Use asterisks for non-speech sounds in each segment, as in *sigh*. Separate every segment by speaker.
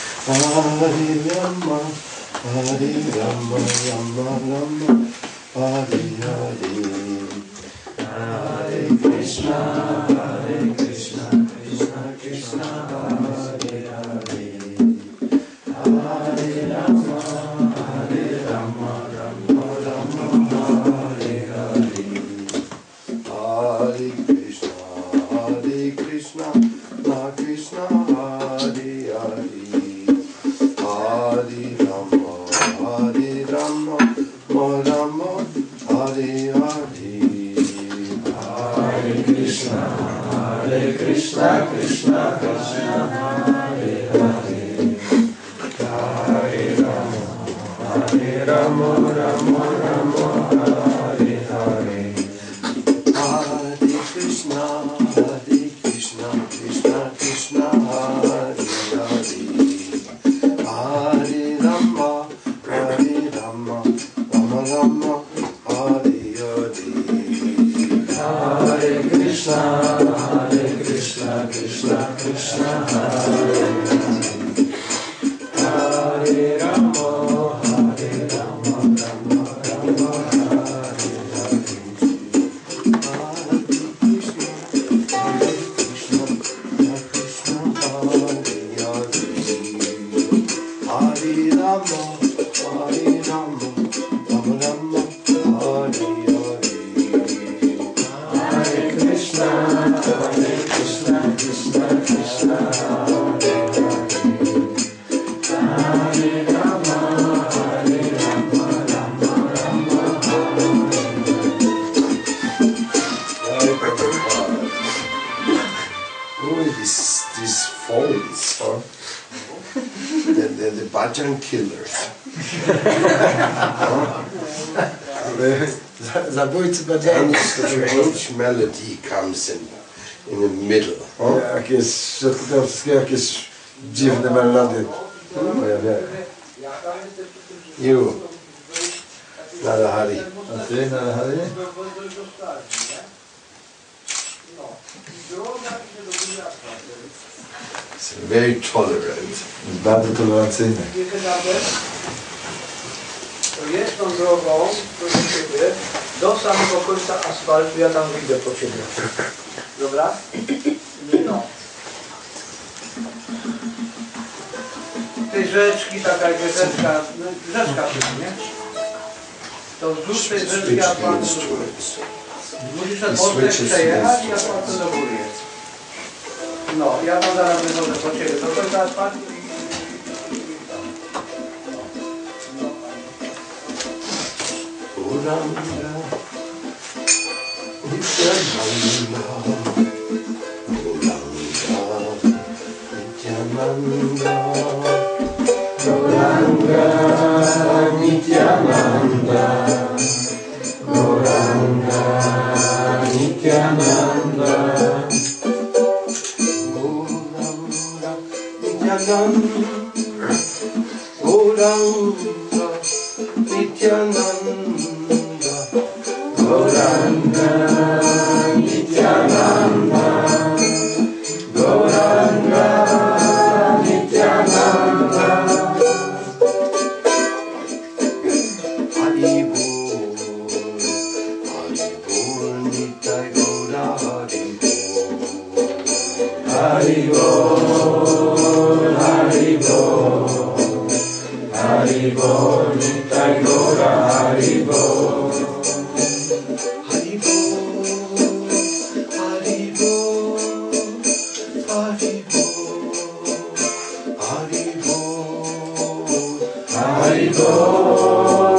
Speaker 1: Hari Rama, Hari Rama, Rama Rama, Hari Hari. Hare Krishna, Hare Krishna, Krishna Krishna, Hare Hare. Hare Rama, Hare Rama, Rama Rama, Hare Hare. Hare Krishna, Hare Krishna, Krishna Krishna, Hare Hare. Hare Rama, Hare Rama, Rama Rama, Hare Hare. Hare Krishna, Hare Krishna, Krishna Krishna, Hare Hare. Hare Rama, Hare Rama, Rama Rama, Hare Hare. Hare Krishna, Hare Krishna, Krishna Krishna, Hare Hare. Hare Rama, Hare Rama, Rama Rama, Hare Hare. Hare Krishna, Hare Krishna, Krishna Krishna, Hare Hare. Hare Rama, Hare Rama, Rama Rama, Hare Hare. Who is this, this follies, huh? the, the, the button killers.
Speaker 2: Zabójcy
Speaker 1: And
Speaker 2: badani.
Speaker 1: strange melody comes in, in the middle.
Speaker 2: O, jakieś, do wszystkiego jakieś dziwne melody pojawiają.
Speaker 1: You, Narahari.
Speaker 2: A ty, Narahari?
Speaker 3: No.
Speaker 1: It's very tolerant.
Speaker 2: Jest bardzo tolerancyjny.
Speaker 3: Kiedy nawet jedną drogą do ciebie, do samego końca asfaltu, ja tam wyjdę po ciebie. Dobra? No. Tej rzeczki, taka jakby rzeczka, no, rzeczka się, nie? To wzdłuż tej rzeczki
Speaker 1: Switch
Speaker 3: ja pan
Speaker 1: instruments.
Speaker 3: musisz ten mostek przejechać, ja pan do góry jest. No, ja tam zaraz wychodzę po ciebie. To końca asfaltu
Speaker 1: Uranga, Nityananda, Uranga, Nityananda, Uranga, Nityananda, Uranga, Nityananda, Uranga, Nityananda, Uranga, Nityananda, Goranga, Nityananda, Goranga, Nityananda. Hari Bol, Hari Bol, Nitai Gora Hari Bol. Hari Bol, Hari Bol, Hari Bol, Nitai Gora Hari Bol. Hari Bol, Hari Bol, Hari Bol, Hari Bol,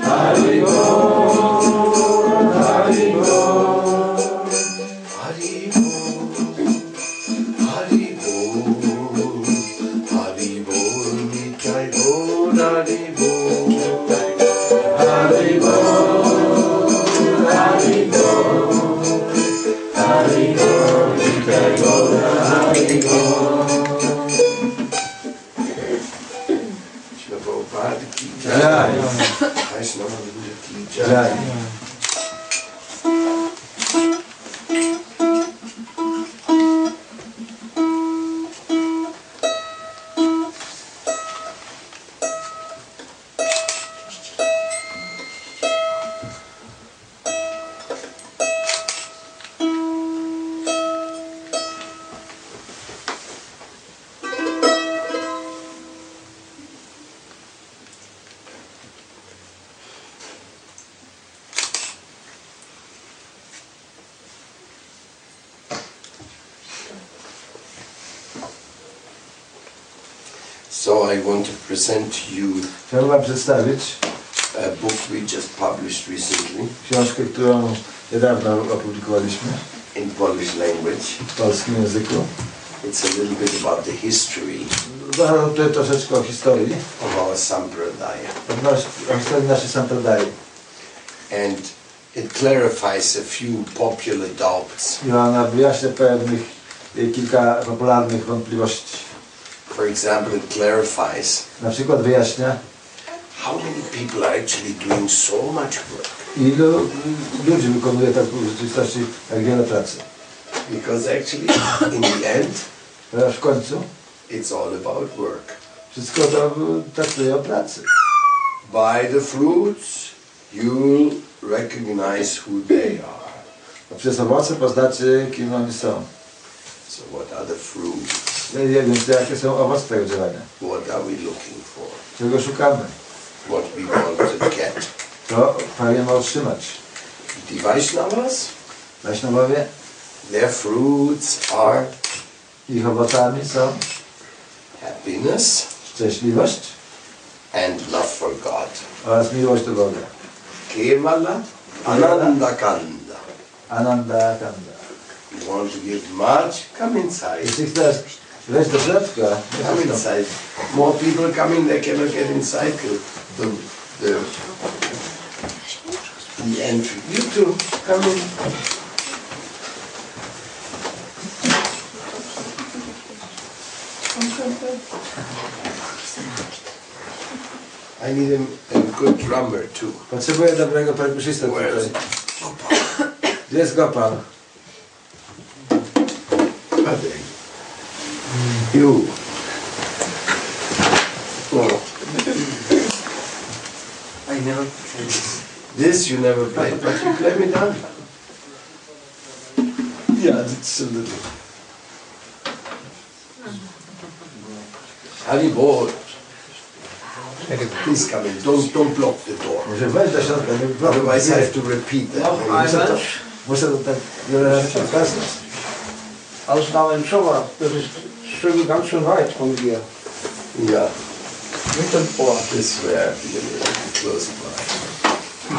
Speaker 1: Hari Bol, Hari Bol, Hari Bol, Hari Bol, Hari Bol. Hari Bol, Hari Bol, Nitai Bol, Hari Bol. Hari Bol, Hari Bol, Hari Bol, Nitai Bol, Hari Bol. So I want to present to you
Speaker 2: Chciałem Wam przedstawić
Speaker 1: a book we just published recently
Speaker 2: książkę, którą niedawno opublikowaliśmy
Speaker 1: in Polish language.
Speaker 2: w polskim języku.
Speaker 1: It's a little bit about the history
Speaker 2: Zaraz tutaj troszeczkę o historii,
Speaker 1: of our sampradaya,
Speaker 2: odnoś- o historii naszej Sampradai.
Speaker 1: and it clarifies a few popular doubts.
Speaker 2: I ona wyjaśnia pewnych, y, kilka popularnych wątpliwości.
Speaker 1: For example, it clarifies
Speaker 2: Na przykład wyjaśnia,
Speaker 1: how many people are actually doing so much work.
Speaker 2: ilu y, ludzi wykonuje tak w rzeczywistości tak wiele pracy.
Speaker 1: Because actually, in the end,
Speaker 2: Ponieważ w końcu
Speaker 1: it's all about work.
Speaker 2: wszystko to y, traktuje o pracy.
Speaker 1: By the fruits, you'll recognize who they are.
Speaker 2: A przez owoce poznacie, kim oni są.
Speaker 1: So, what are the fruits?
Speaker 2: Y, Więc jakie są owoce tego działania.
Speaker 1: What are we looking for?
Speaker 2: Czego szukamy?
Speaker 1: What we want to get.
Speaker 2: To pragniemy otrzymać.
Speaker 1: The Vaishnavas,
Speaker 2: Wajśnowowie,
Speaker 1: their fruits are
Speaker 2: ich owocami są
Speaker 1: happiness
Speaker 2: szczęśliwość
Speaker 1: and love for God.
Speaker 2: oraz miłość do Boga.
Speaker 1: Kemala Ananda Kanda.
Speaker 2: Ananda Kanda.
Speaker 1: You want to give much? Come inside.
Speaker 2: Jeśli chcesz wejść do środka,
Speaker 1: Come inside. More people coming, they cannot get inside the, the, the, the entry. You too, come in. I need a, a good drummer too.
Speaker 2: potrzebuję dobrego perkusisty
Speaker 1: Where is
Speaker 2: tutaj. Gdzie jest Gopal?
Speaker 1: Are they? You. Well,
Speaker 4: I never played this.
Speaker 1: This you never played, but you play me down. Yeah, it's a little. Haribo, please come in. Don't don't block the door.
Speaker 2: Może wejść do środka, nie
Speaker 1: Otherwise, I have
Speaker 2: blokuj.
Speaker 1: to repeat that.
Speaker 3: Noch einmal.
Speaker 2: Muszę to tak wiele razy przekazać.
Speaker 3: Aus Nauenschowa, das ist schon ganz schön weit von hier.
Speaker 1: Yeah,
Speaker 3: Mit dem Ohr.
Speaker 1: this way. I have to get a little close by.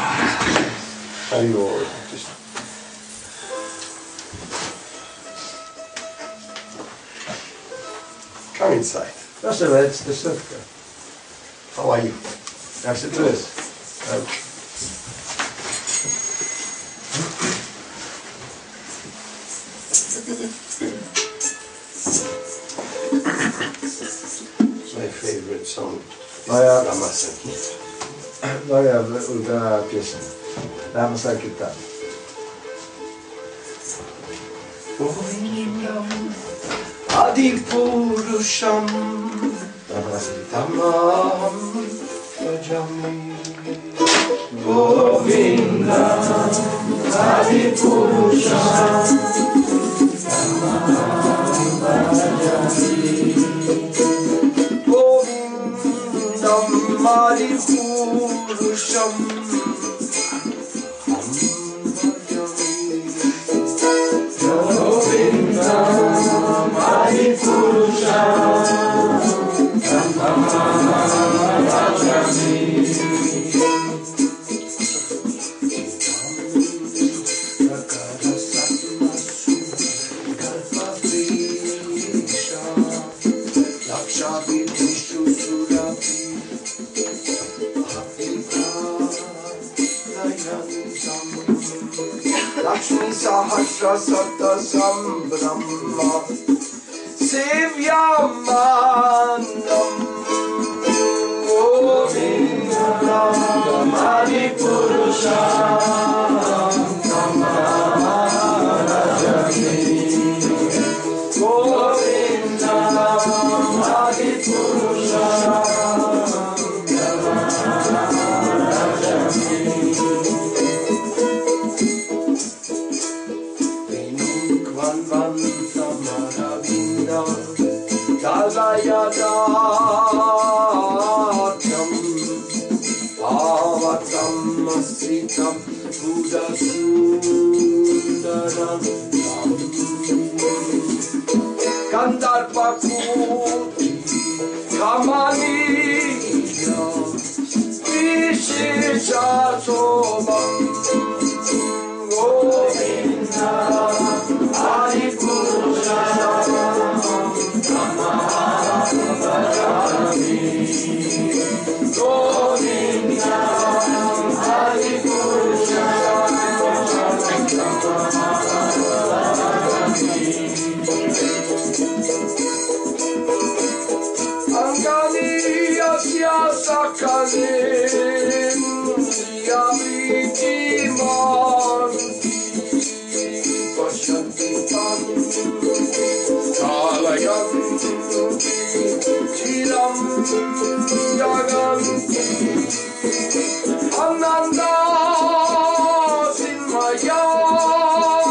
Speaker 1: Haribo, just come inside.
Speaker 2: Proszę wejść do środka.
Speaker 1: How are you?
Speaker 2: Jak się czujesz?
Speaker 1: Um, My favorite song is
Speaker 2: Oh, yeah.
Speaker 1: Rama Sangeet.
Speaker 2: Moja ulubiona pieśń. Dam sakitan.
Speaker 1: Adi Purusham
Speaker 2: Dam sakitan.
Speaker 1: Tamam Yajami Govinda Adi Purusham Govindam Adi Purusham Lakshmi Sahasra Sata Sambrahma Sevyamanam Govindam Adi Purusham Buddha Sundaram Kandarpa Kuti
Speaker 5: 가만히 이 시자 소망 고민나 아리꾸샤 남마하바라미 고민나 아리꾸샤 Angania sia sakalim Ya viki manti Pashanti tanti Kalayanti Chiram Yaganti Ananda Sinmaya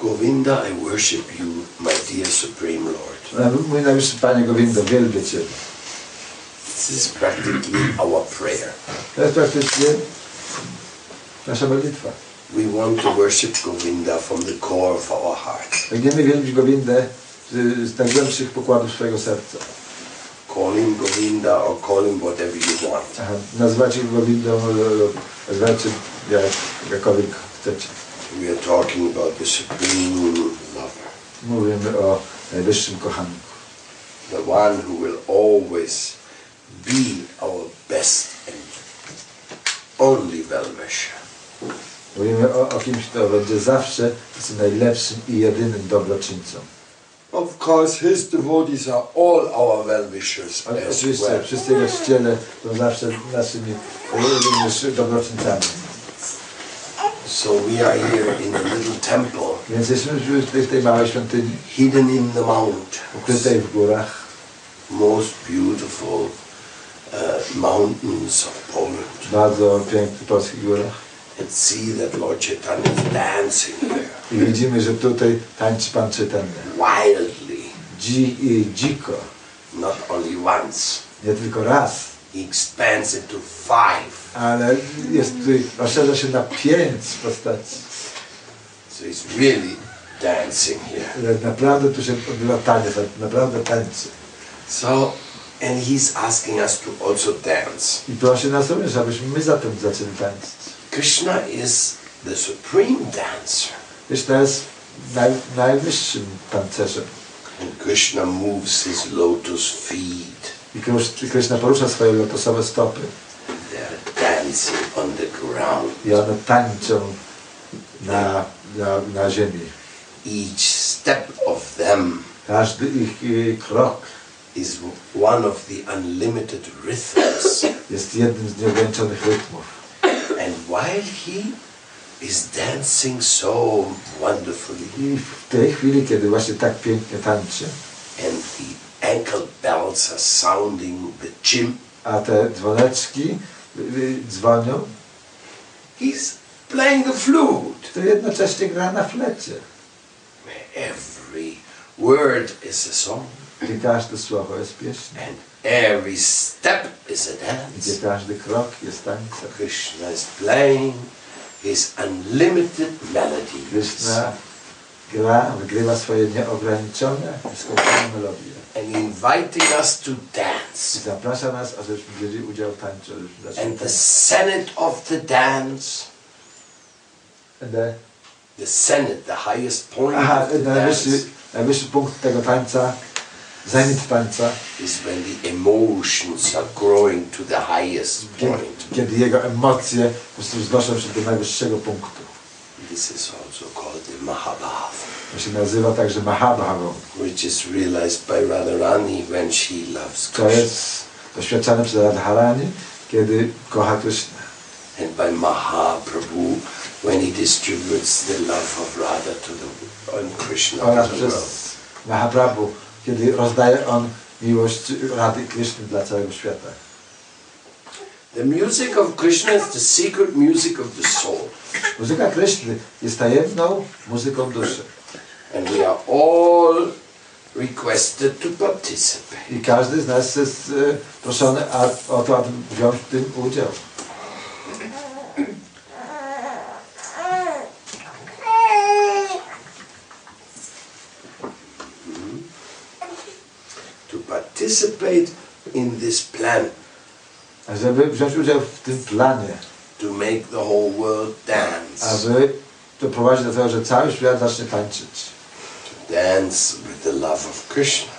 Speaker 1: Govinda, I worship you, my dear Supreme Lord.
Speaker 2: Mój najwyższy Panie Gowindo, wielbię Cię.
Speaker 1: This is practically our prayer.
Speaker 2: To jest praktycznie nasza modlitwa.
Speaker 1: We want to worship Govinda from the core of our heart.
Speaker 2: Pragniemy wielbić Gowindę z z najgłębszych pokładów swojego serca.
Speaker 1: Call him Govinda or call him whatever you want.
Speaker 2: Aha, Nazwać ich Gowindą, e, lub nazwać jak, jakkolwiek chcecie.
Speaker 1: We are talking about the Supreme Lover,
Speaker 2: Mówimy o najwyższym kochanku.
Speaker 1: the one who will always be our best and only well-wisher.
Speaker 2: Mówimy o, o kimś, kto będzie zawsze jest najlepszym i jedynym dobroczyńcą.
Speaker 1: Of course, his devotees are all our well-wishers
Speaker 2: Ale
Speaker 1: as
Speaker 2: oczywiście
Speaker 1: well.
Speaker 2: wszyscy jego ściele są zawsze naszymi e, również dobroczyńcami.
Speaker 1: So we are here in a little temple,
Speaker 2: Więc jesteśmy w tej, w tej małej świątyni,
Speaker 1: hidden in the mountains.
Speaker 2: ukrytej w górach,
Speaker 1: Most beautiful uh, mountains of Poland.
Speaker 2: bardzo pięknych polskich górach.
Speaker 1: And see that Lord Chaitanya is dancing here
Speaker 2: I widzimy, że tutaj tańczy Pan Czytelny.
Speaker 1: wildly,
Speaker 2: Dzi, i dziko,
Speaker 1: not only once.
Speaker 2: nie tylko raz,
Speaker 1: He expands it to five.
Speaker 2: ale jest tutaj, rozszerza się na pięć postaci.
Speaker 1: So he's really dancing here.
Speaker 2: Ale Naprawdę tu się odbywa taniec, ale naprawdę tańczy.
Speaker 1: So, and he's asking us to also dance.
Speaker 2: I prosi nas również, abyśmy my zatem zaczęli tańczyć.
Speaker 1: Krishna is the supreme dancer.
Speaker 2: Wiesz, to jest naj, najwyższym tancerzem.
Speaker 1: And Krishna moves his lotus feet.
Speaker 2: I Krysz- Krishna porusza swoje lotosowe stopy
Speaker 1: They are dancing on the ground.
Speaker 2: i one tańczą na, na, na ziemi.
Speaker 1: Each step of them
Speaker 2: Każdy ich y, krok
Speaker 1: is one of the unlimited rhythms.
Speaker 2: jest jednym z nieograniczonych rytmów.
Speaker 1: and while he is dancing so wonderfully,
Speaker 2: I w tej chwili, kiedy właśnie tak pięknie tańczy,
Speaker 1: and the ankle bells are sounding the chim,
Speaker 2: a te dzwoneczki y, y, dzwonią,
Speaker 1: he's playing the flute.
Speaker 2: to jednocześnie gra na flecie.
Speaker 1: Every word is a song,
Speaker 2: Gdzie każde słowo jest pieśnią,
Speaker 1: and every step is a
Speaker 2: gdzie
Speaker 1: dance.
Speaker 2: każdy krok jest tańcem.
Speaker 1: Krishna is playing his unlimited melody.
Speaker 2: Krishna gra, wygrywa swoje nieograniczone, skończone melodie.
Speaker 1: and inviting us to
Speaker 2: I
Speaker 1: dance.
Speaker 2: zaprasza nas, abyśmy wzięli udział w tańcu. żebyśmy zaczęli
Speaker 1: And the
Speaker 2: tańczyć.
Speaker 1: senate of the dance,
Speaker 2: And the-
Speaker 1: the senate, the highest point
Speaker 2: Aha,
Speaker 1: of the
Speaker 2: najwyższy,
Speaker 1: dance,
Speaker 2: najwyższy punkt tego tańca, zamiast tańca,
Speaker 1: is when the emotions are growing to the highest
Speaker 2: kiedy,
Speaker 1: point.
Speaker 2: kiedy jego emocje po prostu wznoszą się do najwyższego punktu.
Speaker 1: This is also called the Mahabharata,
Speaker 2: To się nazywa tak, także Mahabharą.
Speaker 1: which is realized by Radharani when she loves
Speaker 2: To
Speaker 1: Krishna,
Speaker 2: jest doświadczane przez Radharani, kiedy kocha Krishna.
Speaker 1: and by Mahaprabhu when he distributes the love of Radha to the and Krishna
Speaker 2: Oraz
Speaker 1: to the world.
Speaker 2: przez Mahaprabhu, kiedy rozdaje on miłość Rady i Krishny dla całego świata.
Speaker 1: The music of Krishna is the secret music of the soul.
Speaker 2: Muzyka Krishny jest tajemną muzyką duszy.
Speaker 1: and we are all requested to participate.
Speaker 2: I każdy z nas jest e, proszony a, o to, aby wziąć w tym udział.
Speaker 1: To participate in this plan
Speaker 2: A żeby wziąć udział w tym planie,
Speaker 1: to make the whole world dance.
Speaker 2: aby to prowadzi do tego, że cały świat zacznie tańczyć.
Speaker 1: Dance with the love of Krishna.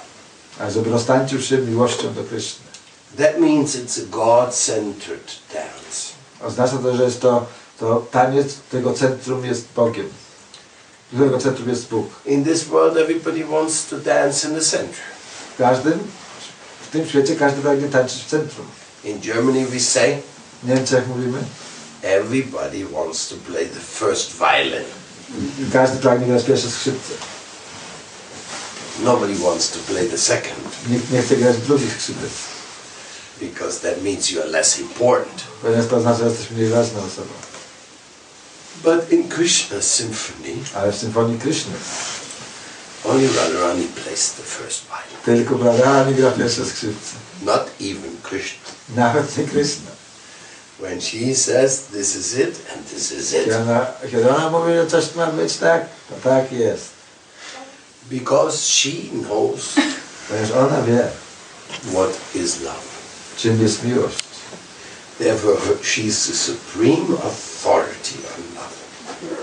Speaker 2: A żeby roztańczył się miłością do Kryszny.
Speaker 1: That means it's a God centered dance.
Speaker 2: Oznacza to, że jest to, to taniec, którego centrum jest Bogiem. Którego centrum jest Bóg.
Speaker 1: In this world, everybody wants to dance in the center.
Speaker 2: W każdym, w tym świecie każdy pragnie tańczyć w centrum.
Speaker 1: In Germany, we say
Speaker 2: W Niemczech mówimy,
Speaker 1: everybody wants to play the first violin.
Speaker 2: każdy pragnie grać pierwsze skrzypce.
Speaker 1: Nobody wants to play the second
Speaker 2: Nikt nie chce grać drugich skrzypiec.
Speaker 1: because that means you are less important.
Speaker 2: Ponieważ to oznacza, że jesteś mniej ważną osobą.
Speaker 1: But in Krishna's symphony,
Speaker 2: Ale w symfonii Kryszny
Speaker 1: Only Radharani plays the first violin,
Speaker 2: tylko Radharani gra pierwsze skrzypce.
Speaker 1: not even Krishna.
Speaker 2: Nawet nie Kryszna.
Speaker 1: When she says, this is it and this is
Speaker 2: Kiedy
Speaker 1: it,
Speaker 2: ona, kiedy ona mówi, że coś ma być tak, to tak jest.
Speaker 1: because she knows
Speaker 2: Ponieważ ona wie,
Speaker 1: what is love.
Speaker 2: czym jest miłość.
Speaker 1: Therefore, her- she's the supreme authority on love.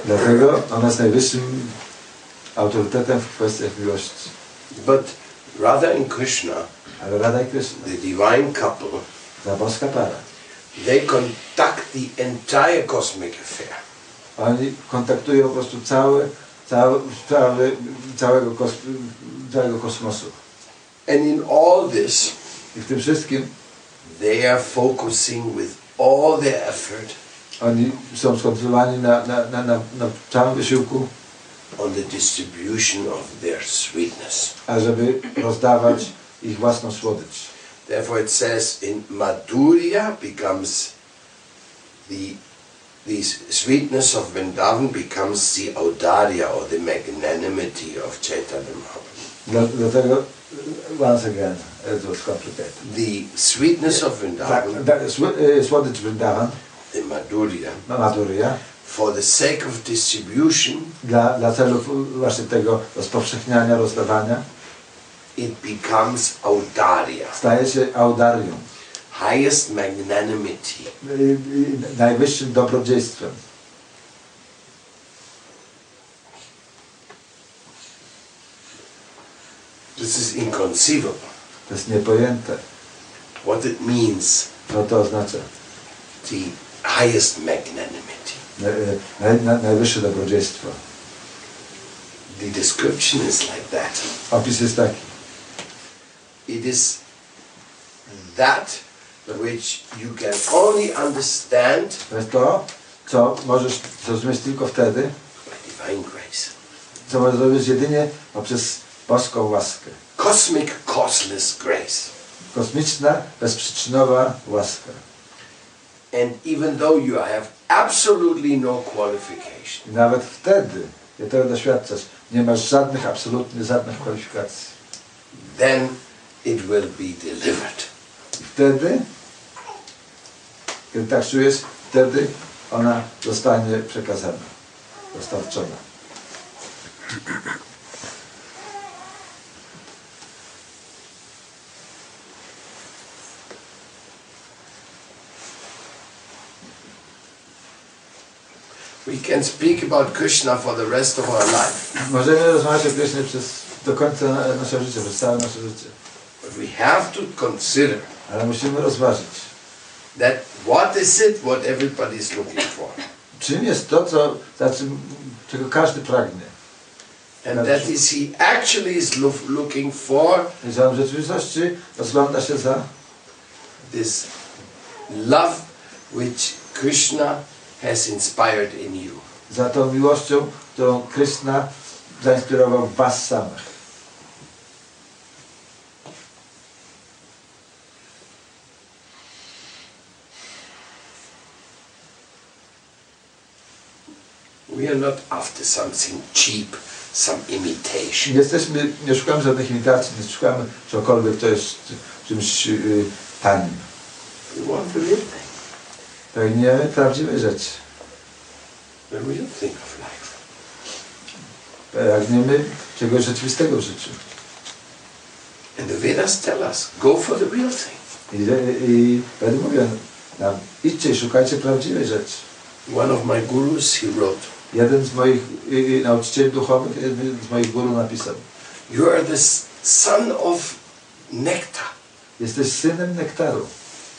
Speaker 2: Dlatego ona jest najwyższym autorytetem w kwestiach miłości.
Speaker 1: But Radha and Krishna,
Speaker 2: Ale Radha i Kryszna,
Speaker 1: the divine couple,
Speaker 2: ta boska para,
Speaker 1: they conduct the entire cosmic affair.
Speaker 2: oni kontaktują po prostu całe, całe sprawy całego, kos, całego kosmosu.
Speaker 1: And in all this,
Speaker 2: I w tym wszystkim
Speaker 1: they are focusing with all their effort
Speaker 2: oni są skoncentrowani na, na, na, na, na całym wysiłku
Speaker 1: on the distribution of their sweetness.
Speaker 2: ażeby rozdawać ich własną słodycz.
Speaker 1: Therefore, it says in Madhurya becomes the the sweetness of Vrindavan becomes the audarya or the magnanimity of Chaitanya Mahaprabhu.
Speaker 2: Dla- Dlatego, e, once again, it was complicated.
Speaker 1: The sweetness of
Speaker 2: Tak,
Speaker 1: Vrindavan,
Speaker 2: da, sły- y, słodycz Vrindavan,
Speaker 1: the Madhurya,
Speaker 2: Maduria,
Speaker 1: for the sake of distribution,
Speaker 2: dla, dla celów e, właśnie tego rozpowszechniania, rozdawania,
Speaker 1: it becomes audarya,
Speaker 2: staje się audarium,
Speaker 1: highest magnanimity.
Speaker 2: y, y, najwyższym dobrodziejstwem.
Speaker 1: This is inconceivable.
Speaker 2: To jest niepojęte.
Speaker 1: What it means,
Speaker 2: Co to oznacza?
Speaker 1: the highest magnanimity.
Speaker 2: Na- e, na- na- Najwyższe dobrodziejstwo.
Speaker 1: The description is like that.
Speaker 2: Opis jest taki.
Speaker 1: It is that which you can only understand
Speaker 2: To jest to, co możesz zrozumieć tylko wtedy,
Speaker 1: by divine grace.
Speaker 2: co możesz zrozumieć jedynie poprzez boską łaskę.
Speaker 1: Cosmic, causeless grace.
Speaker 2: Kosmiczna, bezprzyczynowa łaska.
Speaker 1: And even though you have absolutely no qualification,
Speaker 2: I nawet wtedy, kiedy tego doświadczasz, nie masz żadnych, absolutnie żadnych kwalifikacji.
Speaker 1: then it will be delivered.
Speaker 2: I wtedy, kiedy tak czujesz, wtedy ona zostanie przekazana, dostarczona.
Speaker 1: We can speak about Krishna for the rest of our life,
Speaker 2: Możemy rozmawiać o Krysznie przez do końca na- naszego życia, przez całe nasze życie.
Speaker 1: but we have to consider
Speaker 2: Ale musimy rozważyć,
Speaker 1: that what is it what everybody is looking for?
Speaker 2: czym jest to, co, za czym, czego każdy pragnie.
Speaker 1: And that is he actually is loo- looking for
Speaker 2: I że on w rzeczywistości rozgląda się za
Speaker 1: this love which Krishna has inspired in you.
Speaker 2: za tą miłością, którą Krishna zainspirował w was samych.
Speaker 1: We are not after something cheap, some
Speaker 2: Nie
Speaker 1: imitation.
Speaker 2: jesteśmy, nie szukamy żadnych imitacji, nie szukamy czegokolwiek, co jest czymś yy, tanim.
Speaker 1: We want the real thing,
Speaker 2: Pragniemy prawdziwej rzeczy.
Speaker 1: the real thing of life.
Speaker 2: Pragniemy czegoś rzeczywistego w życiu.
Speaker 1: And the Vedas tell us go for the real thing.
Speaker 2: I, i Wtedy mówią nam, idźcie i szukajcie prawdziwej rzeczy.
Speaker 1: One of my gurus, he wrote,
Speaker 2: Jeden z moich yy, nauczycieli duchowych, jeden z moich guru napisał,
Speaker 1: You are the s- son of nectar.
Speaker 2: jesteś synem nektaru.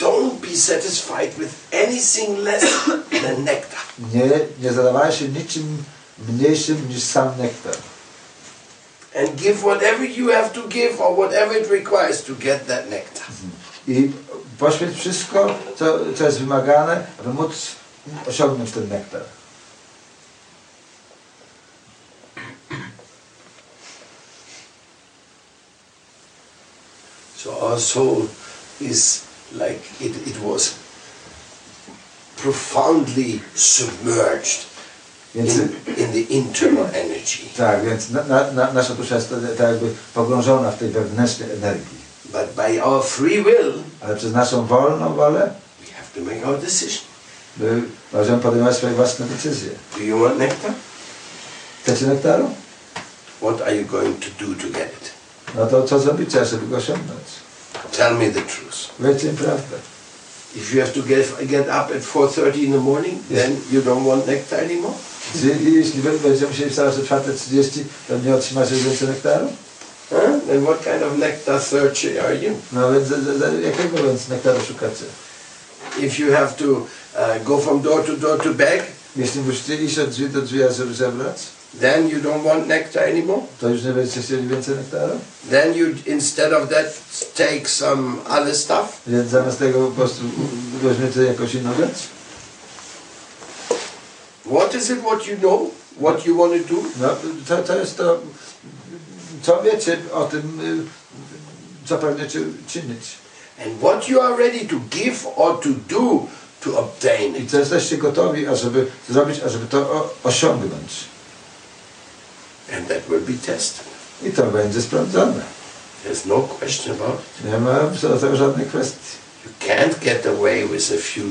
Speaker 1: Don't be satisfied with anything less *coughs* than nectar.
Speaker 2: Nie, nie zadawałeś się niczym mniejszym niż sam nektar.
Speaker 1: And give whatever you have to give or whatever it requires to get that nectar.
Speaker 2: I poświęć wszystko, co, co jest wymagane, aby móc osiągnąć ten nektar.
Speaker 1: So our soul is like it, it was profoundly submerged in,
Speaker 2: Więc,
Speaker 1: in the internal energy.
Speaker 2: tak, więc na, na, na, nasza dusza jest wtedy tak jakby pogrążona w tej wewnętrznej energii.
Speaker 1: But by our free will,
Speaker 2: Ale przez naszą wolną wolę
Speaker 1: we have to make our decision.
Speaker 2: my możemy podejmować swoje własne decyzje.
Speaker 1: Do you want nectar?
Speaker 2: Chcecie nektaru?
Speaker 1: What are you going to do to get it?
Speaker 2: No to co zrobicie, żeby go osiągnąć?
Speaker 1: Tell me the truth.
Speaker 2: Powiedzcie im prawdę.
Speaker 1: If you have to get, get up at 4.30 in the morning, then you don't want nectar anymore?
Speaker 2: Jeśli- Jeśli wy będziecie musieli wstawać o 4.30, to nie otrzymacie więcej nektaru?
Speaker 1: Huh? Then what kind of nectar searcher are you?
Speaker 2: No więc za- za- za- jakiego więc nektaru szukacie?
Speaker 1: If you have to uh, go from door to door to beg,
Speaker 2: Jeśli musicie iść od drzwi do drzwi, a żeby zebrać,
Speaker 1: then you don't want nectar anymore?
Speaker 2: to już nie będziecie chcieli więcej nektaru?
Speaker 1: Then you, instead of that, take some other stuff?
Speaker 2: Więc zamiast tego po prostu weźmiecie jakąś inną rzecz?
Speaker 1: What is it what you know? What you want to do?
Speaker 2: No, to, to jest to, co wiecie o tym, y, co pragniecie czynić.
Speaker 1: And what you are ready to give or to do to obtain
Speaker 2: I
Speaker 1: it.
Speaker 2: co jesteście gotowi, ażeby zrobić, ażeby to o, osiągnąć.
Speaker 1: And that will be tested.
Speaker 2: I to będzie sprawdzone.
Speaker 1: There's no question about it.
Speaker 2: Nie ma co do tego żadnej kwestii.
Speaker 1: You can't get away with a few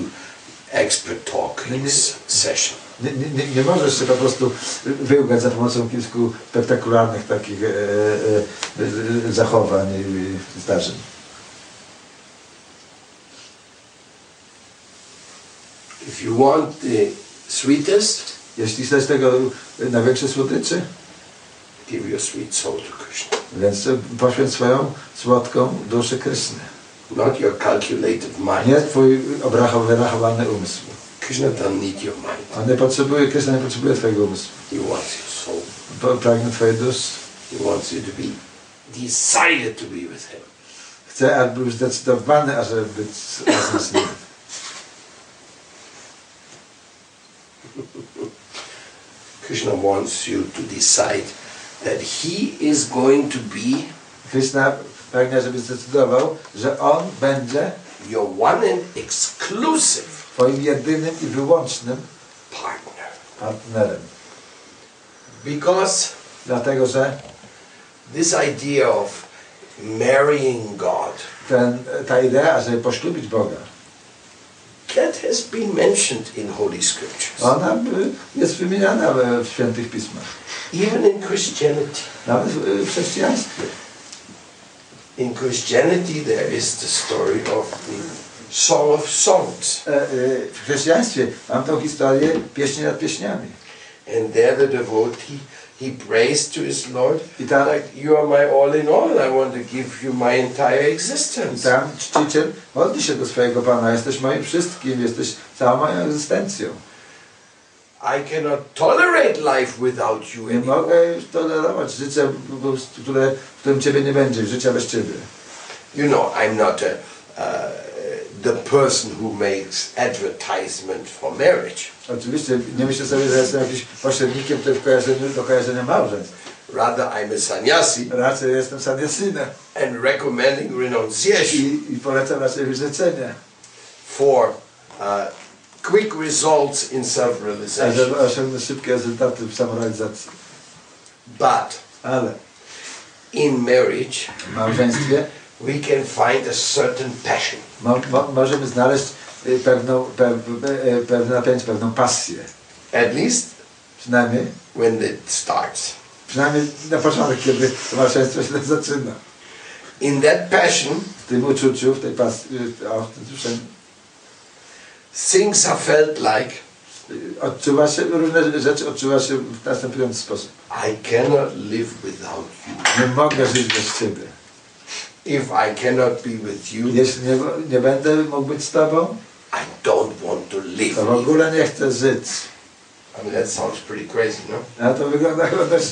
Speaker 1: expert talk in s- session.
Speaker 2: Nie, nie, nie, nie możesz się po prostu wyłgać za pomocą kilku spektakularnych takich e, e, e, e, zachowań i zdarzeń.
Speaker 1: If you want the sweetest,
Speaker 2: Jeśli chcesz tego największe słodyczy,
Speaker 1: give your sweet soul to Krishna.
Speaker 2: Więc e, poświęć swoją słodką duszę Kryszny.
Speaker 1: Not your calculated
Speaker 2: A
Speaker 1: mind.
Speaker 2: nie twój obrachow, wyrachowany umysł.
Speaker 1: Krishna doesn't need your mind.
Speaker 2: On nie potrzebuje, Kryszna nie potrzebuje twojego umysłu.
Speaker 1: He wants your soul.
Speaker 2: Po- Pragnie twojej duszy.
Speaker 1: He wants you to be decided to be with him.
Speaker 2: Chce, aby był zdecydowany, ażeby być razem z nim.
Speaker 1: Krishna wants you to decide that he is going to be
Speaker 2: Kryszna pragnie, żeby zdecydował, że on będzie
Speaker 1: your one and exclusive
Speaker 2: twoim jedynym i wyłącznym
Speaker 1: partner.
Speaker 2: partnerem.
Speaker 1: Because
Speaker 2: Dlatego, że
Speaker 1: this idea of marrying God,
Speaker 2: ten, ta idea, żeby poślubić Boga,
Speaker 1: that has been mentioned in Holy Scriptures,
Speaker 2: ona y, jest wymieniana w- w świętych pismach.
Speaker 1: even in Christianity.
Speaker 2: Nawet y, w chrześcijaństwie.
Speaker 1: In Christianity, there is the story of the Song of Songs,
Speaker 2: E, e, W chrześcijaństwie mam tą historię pieśni nad pieśniami.
Speaker 1: and there the devotee he prays to his Lord,
Speaker 2: I tam,
Speaker 1: like you are my all in all, I want to give you my entire
Speaker 2: i
Speaker 1: existence.
Speaker 2: tam czciciel modli się do swojego Pana. Jesteś moim wszystkim, jesteś całą moją egzystencją.
Speaker 1: I cannot tolerate life without you
Speaker 2: Nie
Speaker 1: anymore.
Speaker 2: mogę już tolerować życia, w- w- które, w którym Ciebie nie będzie, życia bez Ciebie.
Speaker 1: You know, I'm not a, uh, the person who makes advertisement for marriage.
Speaker 2: Oczywiście nie myślę sobie, że jestem jakimś pośrednikiem tutaj w kojarzeniu, do kojarzenia małżeństw.
Speaker 1: Rather, I'm a sannyasi
Speaker 2: Raczej jestem sadiasynem
Speaker 1: and recommending renunciation
Speaker 2: i, i polecam raczej wyrzeczenie,
Speaker 1: for uh, quick results in
Speaker 2: a
Speaker 1: self-realization.
Speaker 2: żeby osiągnąć szybkie rezultaty w samorealizacji.
Speaker 1: But
Speaker 2: Ale
Speaker 1: in marriage,
Speaker 2: w małżeństwie
Speaker 1: we can find a certain passion.
Speaker 2: Mo, mo, możemy znaleźć y, pewną, pe, pe, e, pewne napięcie, pewną pasję.
Speaker 1: At least
Speaker 2: Przynajmniej,
Speaker 1: when it starts.
Speaker 2: przynajmniej na początek, kiedy to małżeństwo się zaczyna.
Speaker 1: In that passion,
Speaker 2: W tym uczuciu, w tej pasji, y, o, w tym duszeniu,
Speaker 1: things are felt like
Speaker 2: y, odczuwa się, różne rzeczy odczuwa się w następujący sposób.
Speaker 1: I cannot live without you.
Speaker 2: Nie mogę żyć bez Ciebie.
Speaker 1: If I cannot be with you,
Speaker 2: Jeśli nie, nie będę mógł być z Tobą,
Speaker 1: I don't want to live.
Speaker 2: to w ogóle nie chcę żyć.
Speaker 1: I mean, that sounds pretty crazy, no?
Speaker 2: A to wygląda *laughs* chyba dość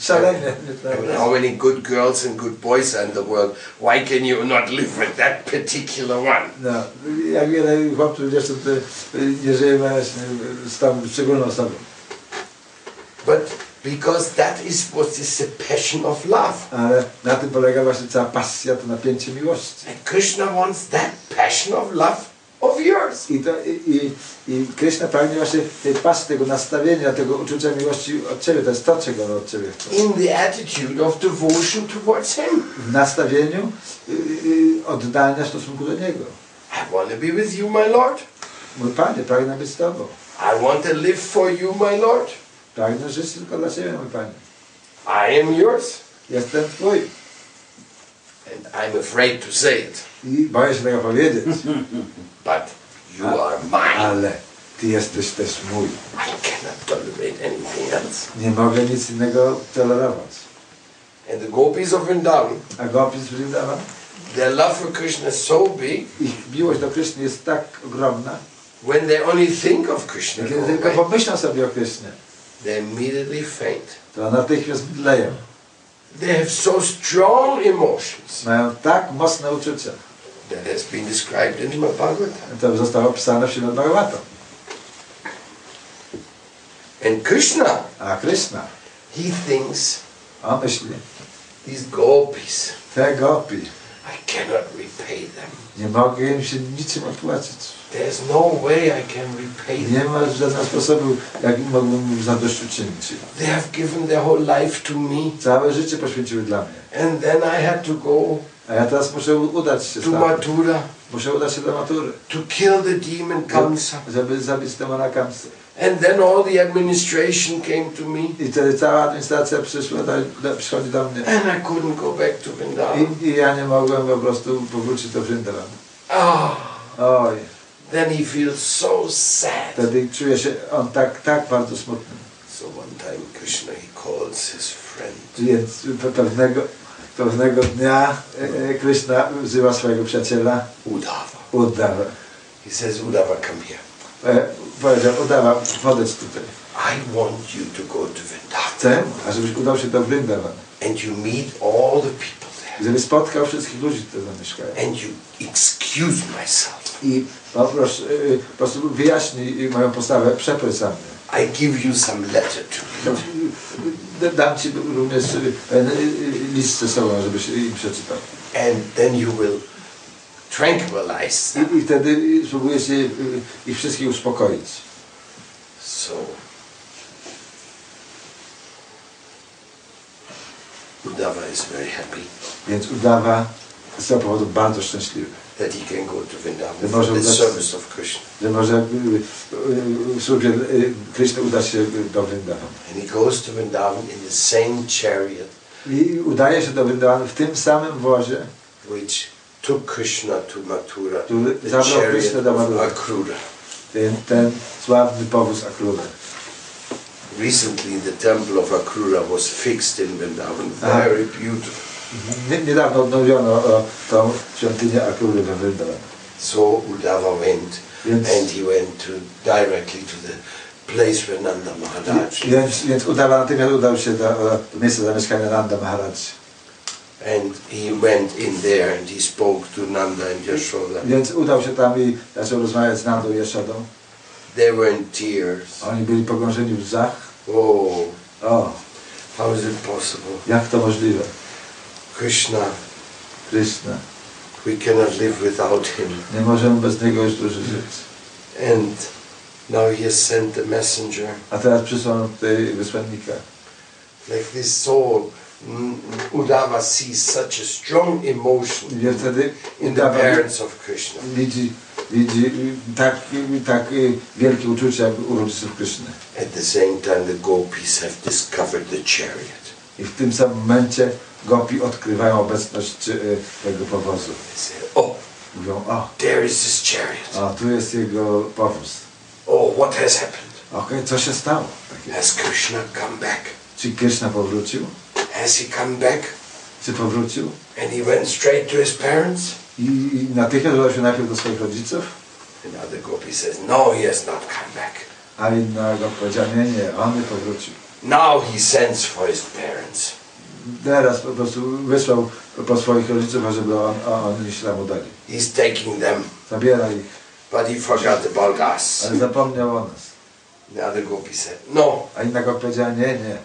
Speaker 2: szalenie. nie
Speaker 1: I
Speaker 2: tak?
Speaker 1: mean, how many good girls and good boys are in the world? Why can you not live with that particular one?
Speaker 2: No, jak wiele chłopców jeszcze tutaj nie żyje właśnie z tą szczególną osobą.
Speaker 1: But because that is what is the passion of love.
Speaker 2: Ale na tym polega właśnie cała pasja, to napięcie miłości.
Speaker 1: And Krishna wants that passion of love of yours.
Speaker 2: I, to, i, i, i Krishna pragnie właśnie tej pasji, tego nastawienia, tego uczucia miłości od Ciebie. To jest to, czego on od Ciebie chce.
Speaker 1: In the attitude of devotion towards Him.
Speaker 2: W nastawieniu y, y, oddania w stosunku do Niego.
Speaker 1: I want to be with you, my Lord.
Speaker 2: Mój Panie, pragnę być z Tobą.
Speaker 1: I want to live for you, my Lord.
Speaker 2: Pragnę żyć tylko dla Ciebie, mój Panie.
Speaker 1: I am yours.
Speaker 2: Jestem Twój.
Speaker 1: And I'm afraid to say it,
Speaker 2: I boję się tego powiedzieć.
Speaker 1: but you are mine.
Speaker 2: Ale Ty jesteś też mój.
Speaker 1: I cannot tolerate anything else.
Speaker 2: Nie mogę nic innego tolerować.
Speaker 1: And the gopis of Vrindavan,
Speaker 2: A Gopis Vrindavan,
Speaker 1: their love for Krishna is so big,
Speaker 2: ich miłość do Kryszny jest tak ogromna,
Speaker 1: when they only think of
Speaker 2: że
Speaker 1: Krishna,
Speaker 2: kiedy tylko pomyślą sobie o Krysznie,
Speaker 1: they immediately faint.
Speaker 2: to natychmiast mdleją.
Speaker 1: They have so strong emotions
Speaker 2: Mają tak mocne uczucia.
Speaker 1: that has been described in the Bhagavatam.
Speaker 2: To zostało opisane w Śrimad Bhagavatam.
Speaker 1: And Krishna,
Speaker 2: A Kryszna,
Speaker 1: he thinks,
Speaker 2: on myśli,
Speaker 1: these gopis,
Speaker 2: te gopi,
Speaker 1: I cannot repay them.
Speaker 2: nie mogę im się niczym odpłacić.
Speaker 1: There's no way I can repay them.
Speaker 2: Nie ma żadnego sposobu, jak mogłem im zadośćuczynić.
Speaker 1: They have given their whole life to me,
Speaker 2: Całe życie poświęciły dla mnie.
Speaker 1: and then I had to go
Speaker 2: A ja teraz muszę udać się
Speaker 1: to
Speaker 2: tam.
Speaker 1: Mathura
Speaker 2: Muszę udać się do matury.
Speaker 1: to kill the demon Kamsa.
Speaker 2: Żeby zabić demona Kamsa.
Speaker 1: And then all the administration came to me,
Speaker 2: I wtedy cała administracja przyszła do, do, przychodzi do mnie.
Speaker 1: and I couldn't go back to Vrindavan.
Speaker 2: I, I ja nie mogłem po prostu powrócić do Vrindavan.
Speaker 1: Ah,
Speaker 2: Oj,
Speaker 1: then he feels so sad.
Speaker 2: wtedy czuje się on tak, tak bardzo smutny.
Speaker 1: So one time Krishna, he calls his friend. friend.
Speaker 2: Więc pe- pewnego, pewnego dnia e, e, Krishna wzywa swojego przyjaciela
Speaker 1: Udava.
Speaker 2: Uddhava.
Speaker 1: He says, Udava, come here.
Speaker 2: E, Powiedział, Uddhava, podejdź tutaj.
Speaker 1: I want you to go to Vrindavan.
Speaker 2: Chcę, ażebyś udał się do Vrindavan,
Speaker 1: And you meet all the people there.
Speaker 2: żeby spotkał wszystkich ludzi, którzy tam mieszkają.
Speaker 1: And you excuse myself.
Speaker 2: I poprosz, e, po prostu wyjaśnij moją postawę, przepraszam.
Speaker 1: I give you some letter to read.
Speaker 2: No, Dam Ci również e, pewien, e, e, list ze sobą, żebyś im przeczytał.
Speaker 1: And then you will tranquilize them.
Speaker 2: I, i wtedy spróbuję się y, ich wszystkich uspokoić.
Speaker 1: So, Udava is very happy
Speaker 2: Więc udawa z tego powodu bardzo szczęśliwy,
Speaker 1: that he can go to Vrindavan
Speaker 2: Then
Speaker 1: for
Speaker 2: also
Speaker 1: the
Speaker 2: that's-
Speaker 1: service of Krishna.
Speaker 2: że może y, y, w służbie y, Kryszny uda się y, do Vrindavan.
Speaker 1: And he goes to Vrindavan in the same chariot
Speaker 2: I udaje się do Vrindavan w tym samym wozie,
Speaker 1: which took Krishna to Mathura,
Speaker 2: Tu
Speaker 1: the
Speaker 2: zabrał
Speaker 1: chariot
Speaker 2: Krishna
Speaker 1: of
Speaker 2: do Madhury.
Speaker 1: Akrura.
Speaker 2: ten, ten sławny powóz Akrura.
Speaker 1: Recently, the temple of Akrura was fixed in Vrindavan,
Speaker 2: Ah.
Speaker 1: very beautiful.
Speaker 2: Nie, niedawno odnowiono o, tą świątynię Akrury we Vrindavan.
Speaker 1: So Uddhava went,
Speaker 2: Yes.
Speaker 1: and he went to directly to the place where Nanda Maharaj lived.
Speaker 2: Tak, Więc, więc udawa natychmiast udał się do, do miejsca zamieszkania Nanda Maharaj.
Speaker 1: And he went in there and he spoke to Nanda and Yashoda.
Speaker 2: Więc udał się tam i zaczął rozmawiać z Nandą i Jaszodą.
Speaker 1: They were in tears.
Speaker 2: Oni byli pogrążeni w łzach.
Speaker 1: Oh,
Speaker 2: O,
Speaker 1: how is it possible?
Speaker 2: jak to możliwe?
Speaker 1: Krishna,
Speaker 2: Krishna.
Speaker 1: we cannot live without him.
Speaker 2: Nie możemy bez niego już dłużej żyć.
Speaker 1: And now he has sent a messenger
Speaker 2: A teraz przysłał nam tutaj wysłannika.
Speaker 1: like this soul. mm, Uddhava sees such a strong
Speaker 2: I
Speaker 1: emotion
Speaker 2: wie wtedy
Speaker 1: in the
Speaker 2: udawa
Speaker 1: parents of Krishna.
Speaker 2: widzi, widzi tak, tak wielkie uczucie jak u rodziców Kryszny.
Speaker 1: At the same time, the gopis have discovered the chariot.
Speaker 2: I w tym samym momencie gopi odkrywają obecność e, tego powozu.
Speaker 1: They say, "Oh,
Speaker 2: Mówią, o,
Speaker 1: there is this chariot.
Speaker 2: a tu jest jego powóz.
Speaker 1: Oh, what has happened?
Speaker 2: Okej, co się stało? Takie.
Speaker 1: Has Krishna come back?
Speaker 2: Czy Kryszna powrócił?
Speaker 1: Has he come back?
Speaker 2: Czy powrócił?
Speaker 1: And he went straight to his parents?
Speaker 2: I, i natychmiast udał się najpierw do swoich rodziców,
Speaker 1: And other gopi says, no, he has not come back.
Speaker 2: a inna go powiedziała, nie, nie, on nie powrócił.
Speaker 1: Now he sends for his parents.
Speaker 2: Teraz po prostu wysłał po swoich rodziców, ażeby on, a oni się tam udali.
Speaker 1: He's taking them,
Speaker 2: Zabiera ich,
Speaker 1: but he forgot about us.
Speaker 2: ale zapomniał o nas.
Speaker 1: The other gopi said, no,
Speaker 2: A inna go powiedziała, nie, nie,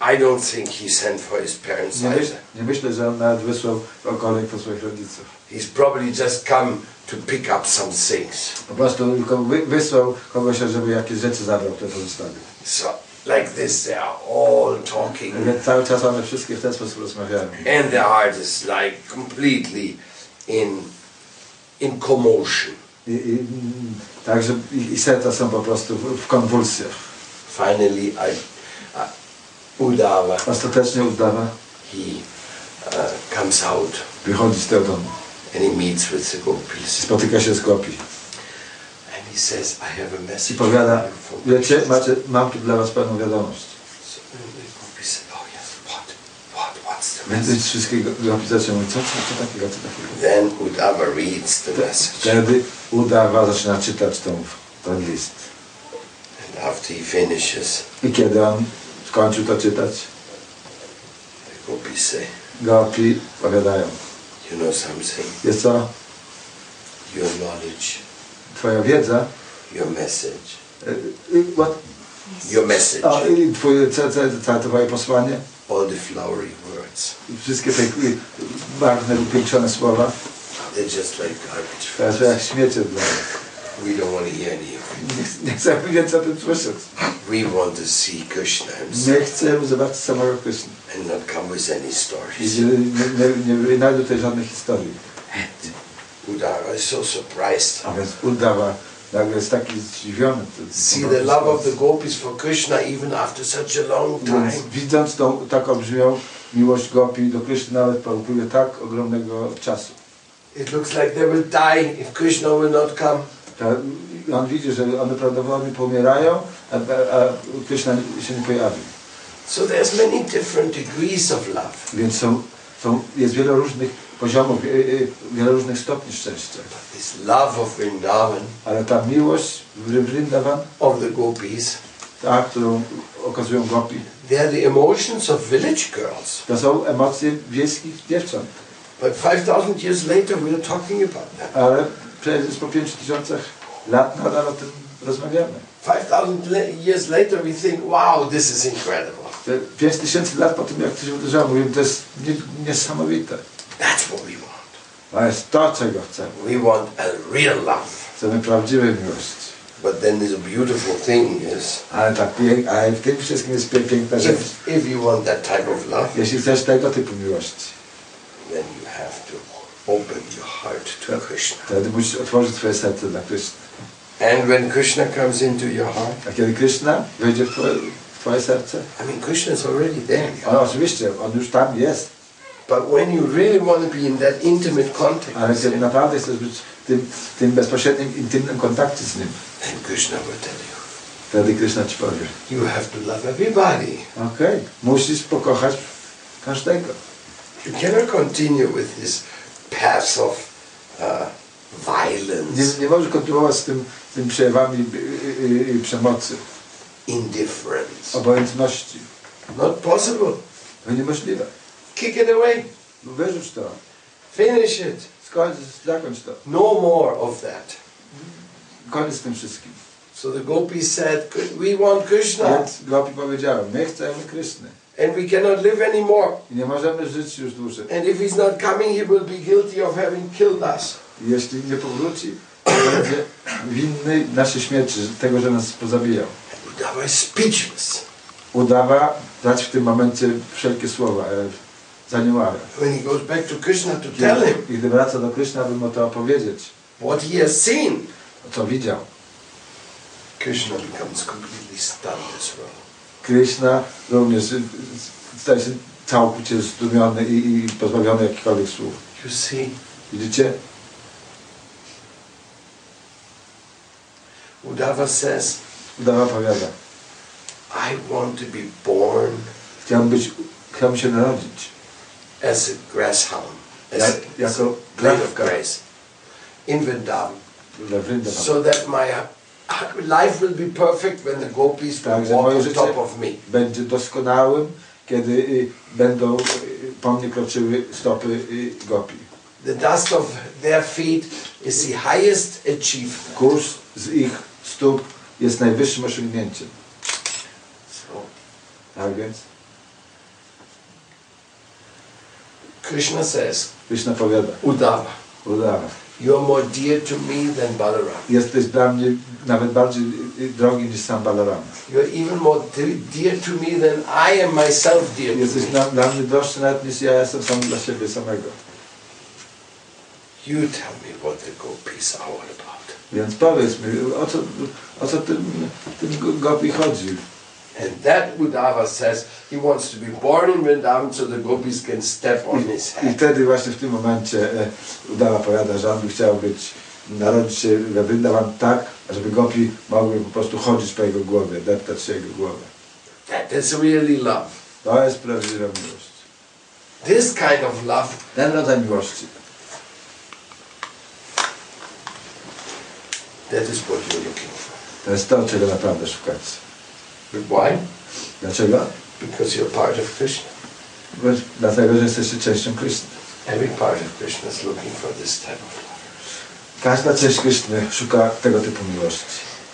Speaker 1: I don't think he sent for his parents
Speaker 2: nie, myśl,
Speaker 1: either.
Speaker 2: nie myślę, że on nawet wysłał okolek po swoich rodziców.
Speaker 1: He's probably just come to pick up some things.
Speaker 2: Po prostu tylko wy, wysłał kogoś, żeby jakieś rzeczy zabrał, które pozostawił.
Speaker 1: So, like this, they are all talking,
Speaker 2: Więc cały czas one wszystkie w ten sposób rozmawiają.
Speaker 1: and their heart is like completely in, in commotion.
Speaker 2: I, i, mm, także ich, ich serca są po prostu w, w konwulsjach.
Speaker 1: Finally, I, uh, I Udava,
Speaker 2: Ostatecznie udawa
Speaker 1: he uh, comes out
Speaker 2: wychodzi z tego domu.
Speaker 1: and he meets with the gopis.
Speaker 2: Spotyka się z gopi.
Speaker 1: And he says, I have a
Speaker 2: I
Speaker 1: message for
Speaker 2: powiada,
Speaker 1: you from
Speaker 2: wiecie,
Speaker 1: Krishna."
Speaker 2: macie, mam tu dla was pewną wiadomość.
Speaker 1: So, and the gopis said, oh yes, what, what, what's the
Speaker 2: Więc
Speaker 1: message?
Speaker 2: wszystkie go- gopi zaczęły mówić, co, co, co takiego, co takiego.
Speaker 1: Then Udava reads the message.
Speaker 2: Wtedy udawa zaczyna czytać tą, ten list.
Speaker 1: And after he finishes,
Speaker 2: I kiedy on skończył to czytać,
Speaker 1: the gopis say,
Speaker 2: gopi powiadają,
Speaker 1: you know something,
Speaker 2: jest co,
Speaker 1: your knowledge,
Speaker 2: twoja wiedza,
Speaker 1: your message,
Speaker 2: y, y, what,
Speaker 1: your message,
Speaker 2: a, i twoje, co, co, co, twoje posłanie,
Speaker 1: all the flowery words,
Speaker 2: wszystkie te y, barwne, upiększone słowa,
Speaker 1: they're just like garbage.
Speaker 2: to są
Speaker 1: for
Speaker 2: jak
Speaker 1: us.
Speaker 2: śmiecie dla nas.
Speaker 1: We don't want to hear any of it.
Speaker 2: Nie, ch- nie chcemy więcej o tym słyszeć.
Speaker 1: We want to see Krishna himself
Speaker 2: Nie chcemy zobaczyć samego Kryszny.
Speaker 1: and not come with any
Speaker 2: I
Speaker 1: stories.
Speaker 2: że nie, nie, nie wynajdą tutaj żadnych historii.
Speaker 1: Udara is so surprised.
Speaker 2: A więc udawa nagle jest taki zdziwiony. To,
Speaker 1: See the love of the gopis for Krishna even after such a long
Speaker 2: Więc
Speaker 1: time.
Speaker 2: widząc tą tak olbrzymią miłość Gopi do Kryszny nawet po upływie tak ogromnego czasu.
Speaker 1: It looks like they will die if Krishna will not come.
Speaker 2: Ta, on widzi, że one prawdopodobnie pomierają, a, a, a Kryszna się nie pojawi.
Speaker 1: So there's many different degrees of love.
Speaker 2: Więc są, są, jest wiele różnych poziomów, e, e, wiele różnych stopni szczęścia.
Speaker 1: This love of Vrindavan,
Speaker 2: Ale ta miłość w Vrindavan,
Speaker 1: of the gopis,
Speaker 2: ta, którą okazują gopi,
Speaker 1: they are the emotions of village girls.
Speaker 2: to są emocje wiejskich dziewcząt.
Speaker 1: But 5,000 years later, we are talking about that.
Speaker 2: Ale przecież po 5000 lat nadal o tym rozmawiamy.
Speaker 1: 5,000 le- years later, we think, wow, this is incredible.
Speaker 2: Te 5000 lat po tym, jak to się wydarzyło, mówimy, to jest nie, niesamowite.
Speaker 1: That's what we want.
Speaker 2: To jest to, czego chcemy.
Speaker 1: We want a real love.
Speaker 2: Chcemy prawdziwej miłości.
Speaker 1: But then the beautiful thing is,
Speaker 2: Ale ta pięk, ale w tym wszystkim jest pie- piękna rzecz.
Speaker 1: if, if you want that type of love,
Speaker 2: Jeśli chcesz tego typu miłości,
Speaker 1: then you have to open your heart to Krishna.
Speaker 2: wtedy musisz otworzyć twoje serce dla Kryszny.
Speaker 1: And when Krishna comes into your heart,
Speaker 2: A kiedy Kryszna wejdzie w twoje, w twoje serce,
Speaker 1: I mean, Krishna is already there.
Speaker 2: on oczywiście, on już tam jest,
Speaker 1: But when you really want to be in that intimate contact,
Speaker 2: ale
Speaker 1: with
Speaker 2: kiedy
Speaker 1: him,
Speaker 2: naprawdę chcesz być w tym, w tym bezpośrednim, intymnym kontakcie z Nim,
Speaker 1: then Krishna will tell you,
Speaker 2: wtedy Kryszna ci powie,
Speaker 1: you have to love everybody.
Speaker 2: okej, musisz pokochać każdego.
Speaker 1: You cannot continue with this passive uh,
Speaker 2: Nie,
Speaker 1: violence,
Speaker 2: nie możesz kontynuować z tym, z tym przejawami y, y, y, przemocy,
Speaker 1: indifference.
Speaker 2: obojętności.
Speaker 1: Not possible.
Speaker 2: To niemożliwe. No
Speaker 1: Kick it away.
Speaker 2: Wyrzuć to,
Speaker 1: Finish it.
Speaker 2: skończ, zakończ to.
Speaker 1: No more of that.
Speaker 2: Koniec z tym wszystkim.
Speaker 1: So the gopis said, we want Krishna
Speaker 2: Więc Gopi powiedział, my chcemy Kryszny
Speaker 1: and we cannot live anymore.
Speaker 2: i nie możemy żyć już dłużej.
Speaker 1: And if he's not coming, he will be guilty of having killed us.
Speaker 2: Jeśli nie powróci, to będzie winny naszej śmierci, że- tego, że nas pozabijał.
Speaker 1: And Uddhava is speechless.
Speaker 2: Udawa dać w tym momencie wszelkie słowa, e, zaniławę.
Speaker 1: When he goes back to Krishna to tell him
Speaker 2: I gdy wraca do Kryszna, by mu to opowiedzieć,
Speaker 1: what he has seen,
Speaker 2: co widział.
Speaker 1: Krishna becomes completely stunned as well.
Speaker 2: Kryszna również y, y, staje się całkowicie zdumiony i, i pozbawiony jakichkolwiek słów.
Speaker 1: You see,
Speaker 2: Widzicie?
Speaker 1: Uddhava says,
Speaker 2: Udawa powiada.
Speaker 1: I want to be born
Speaker 2: Chciałbym być, chciałbym się narodzić.
Speaker 1: as a grasshopper, as
Speaker 2: Jak,
Speaker 1: a
Speaker 2: jako
Speaker 1: blade of
Speaker 2: krawka.
Speaker 1: grace in Vrindavan,
Speaker 2: Dla Vrindavan.
Speaker 1: so that my uh, life will be perfect when the gopis will
Speaker 2: Także
Speaker 1: walk
Speaker 2: moje
Speaker 1: on
Speaker 2: życie
Speaker 1: top of me.
Speaker 2: będzie doskonałym, kiedy y, będą y, po mnie kroczyły stopy y, gopi.
Speaker 1: The dust of their feet is the highest achievement.
Speaker 2: Kurs z ich stóp jest najwyższym osiągnięciem.
Speaker 1: So
Speaker 2: Tak więc
Speaker 1: Krishna says,
Speaker 2: Krishna powiada,
Speaker 1: Uddhava,
Speaker 2: udawa.
Speaker 1: you are more dear to me than Balaram.
Speaker 2: Jesteś dla mnie nawet bardziej y, y, drogi niż sam Balarama.
Speaker 1: You are even more de- dear to me than I am myself dear to
Speaker 2: Jesteś
Speaker 1: me.
Speaker 2: dla, dla mnie droższy nawet niż ja jestem sam dla siebie samego.
Speaker 1: You tell me what the gopis are all about.
Speaker 2: Więc powiedz mi, o co, o co tym, tym go- gopi chodzi?
Speaker 1: And that Uddhava says he wants to be born in Vrindavan so the gopis can step on his
Speaker 2: I
Speaker 1: head.
Speaker 2: wtedy właśnie w tym momencie e, Udawa powiada, że on by chciał być, narodzić się we Vrindavan tak, żeby gopi mogły po prostu chodzić po jego głowie, deptać się jego głowę.
Speaker 1: That is really love.
Speaker 2: To jest prawdziwa miłość.
Speaker 1: This kind of love
Speaker 2: Ten rodzaj miłości,
Speaker 1: that is what you're looking for.
Speaker 2: to jest to, czego naprawdę szukać.
Speaker 1: But why?
Speaker 2: Dlaczego?
Speaker 1: Because you're part of Krishna.
Speaker 2: Bo, dlatego, że jesteście częścią Kryszny.
Speaker 1: Every part of Krishna is looking for this type of love.
Speaker 2: Każda część Kryszny szuka tego typu miłości.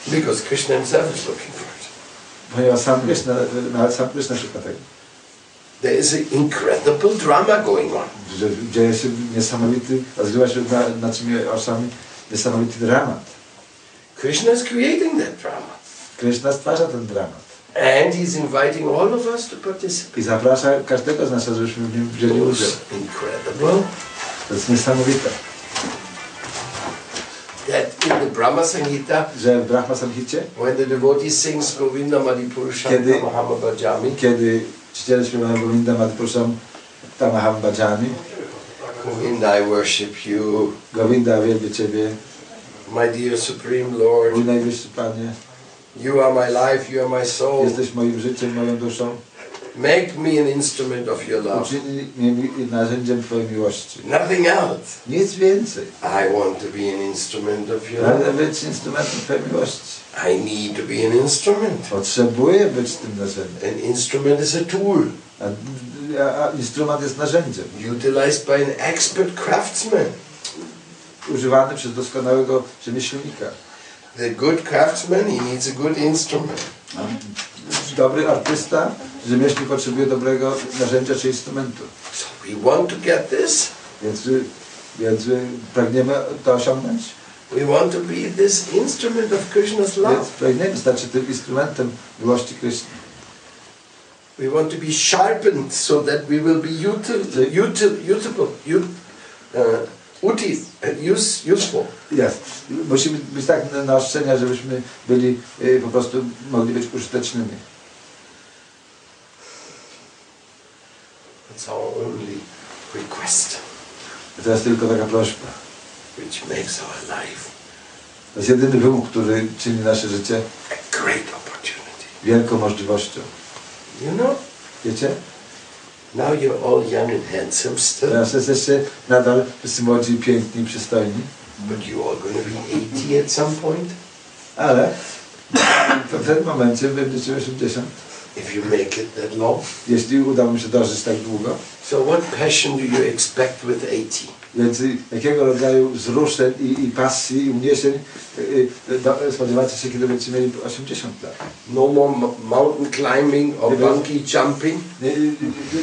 Speaker 1: Because Krishna himself is looking for it.
Speaker 2: Ponieważ sam Kryszna, nawet sam Kryszna szuka tego.
Speaker 1: There is an incredible drama going on.
Speaker 2: Że dzieje się niesamowity, rozgrywa się na, nad tymi oczami niesamowity dramat.
Speaker 1: Krishna is creating that drama.
Speaker 2: Kryszna stwarza ten dramat
Speaker 1: And he's inviting all of us to participate.
Speaker 2: i zaprasza każdego z nas, żebyśmy w nim wzięli udział.
Speaker 1: incredible
Speaker 2: To jest niesamowite,
Speaker 1: that in the Brahma Sanghita,
Speaker 2: że w Brahma Samhicie,
Speaker 1: when the devotee sings Govinda Madhipurushantam
Speaker 2: Kiedy-
Speaker 1: Mahamabhajami,
Speaker 2: kiedy czciciele śpiewają Govinda Madhupurusham Tamaham Bhajani,
Speaker 1: Govinda, I worship you,
Speaker 2: Govinda wielbię Ciebie,
Speaker 1: my dear Supreme
Speaker 2: mój
Speaker 1: Lord,
Speaker 2: najwyższy Panie,
Speaker 1: you are my life, you are my soul.
Speaker 2: jesteś moim życiem, moją duszą.
Speaker 1: Make me an instrument of your love.
Speaker 2: Uczyni mnie mi- narzędziem Twojej miłości.
Speaker 1: Nothing else.
Speaker 2: Nic więcej.
Speaker 1: I want to be an instrument of your
Speaker 2: Pragnę
Speaker 1: love.
Speaker 2: być instrumentem Twojej miłości.
Speaker 1: I need to be an instrument.
Speaker 2: Potrzebuję być tym narzędziem.
Speaker 1: An instrument is a tool
Speaker 2: A, a, a instrument jest narzędziem.
Speaker 1: utilized by an expert craftsman.
Speaker 2: Używany przez doskonałego rzemieślnika.
Speaker 1: The good craftsman, he needs a good instrument.
Speaker 2: Dobry artysta, rzemieślnik potrzebuje dobrego narzędzia czy instrumentu.
Speaker 1: So we want to get this.
Speaker 2: Więc, y, więc y, pragniemy to osiągnąć.
Speaker 1: We want to be this instrument of Krishna's
Speaker 2: Więc
Speaker 1: love.
Speaker 2: pragniemy stać się tym instrumentem miłości Kryszny.
Speaker 1: We want to be sharpened so that we will be util, uh, util, usable, ut, uh, util, and use, useful.
Speaker 2: Jest. Musimy być tak na- naostrzenia, żebyśmy byli y, po prostu mogli być użytecznymi.
Speaker 1: That's our only request,
Speaker 2: To jest tylko taka prośba.
Speaker 1: which makes our life
Speaker 2: To jest jedyny wymóg, który czyni nasze życie
Speaker 1: a great opportunity.
Speaker 2: wielką możliwością.
Speaker 1: You know,
Speaker 2: Wiecie?
Speaker 1: now you're all young and handsome still,
Speaker 2: Teraz jesteście nadal wszyscy młodzi, piękni, przystojni,
Speaker 1: but you're all going to be 80 at some point.
Speaker 2: ale w pewnym momencie będziecie 80.
Speaker 1: if you make it that long.
Speaker 2: Jeśli uda mi się dożyć tak długo,
Speaker 1: So what passion do you expect with 80?
Speaker 2: więc jakiego rodzaju wzruszeń i, i pasji i uniesień y, y, do, spodziewacie się, kiedy będziecie mieli 80 lat?
Speaker 1: No more m- mountain climbing or
Speaker 2: Yes.
Speaker 1: monkey jumping?
Speaker 2: Nie, y,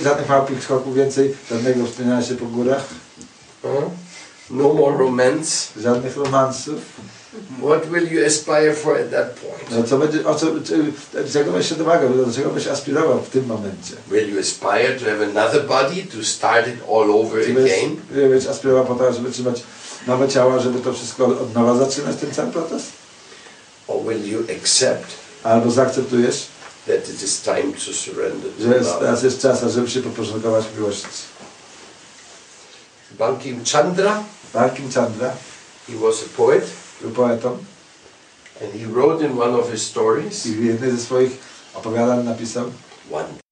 Speaker 2: y, Żadnych małych skoków więcej, żadnego wspinania się po górach,
Speaker 1: Huh? No more romance?
Speaker 2: żadnych romansów.
Speaker 1: What will you aspire for at that point?
Speaker 2: No co będzie, o co, czy- czego byś się domagał, do czego byś aspirował w tym momencie?
Speaker 1: Will you aspire to have another body to start it all over
Speaker 2: Czy byś,
Speaker 1: again?
Speaker 2: byś aspirował po to, żeby trzymać nowe ciała, żeby to wszystko od nowa zaczynać, ten cały proces?
Speaker 1: Or will you accept
Speaker 2: Albo zaakceptujesz,
Speaker 1: that it is time to surrender to
Speaker 2: że jest,
Speaker 1: love?
Speaker 2: teraz jest czas, żeby się poporządkować w miłości.
Speaker 1: Bankim Chandra,
Speaker 2: Rankim Chandra
Speaker 1: he was a poet
Speaker 2: był poetą
Speaker 1: and he wrote in one of his
Speaker 2: i
Speaker 1: stories,
Speaker 2: w jednej ze swoich opowiadań napisał
Speaker 1: one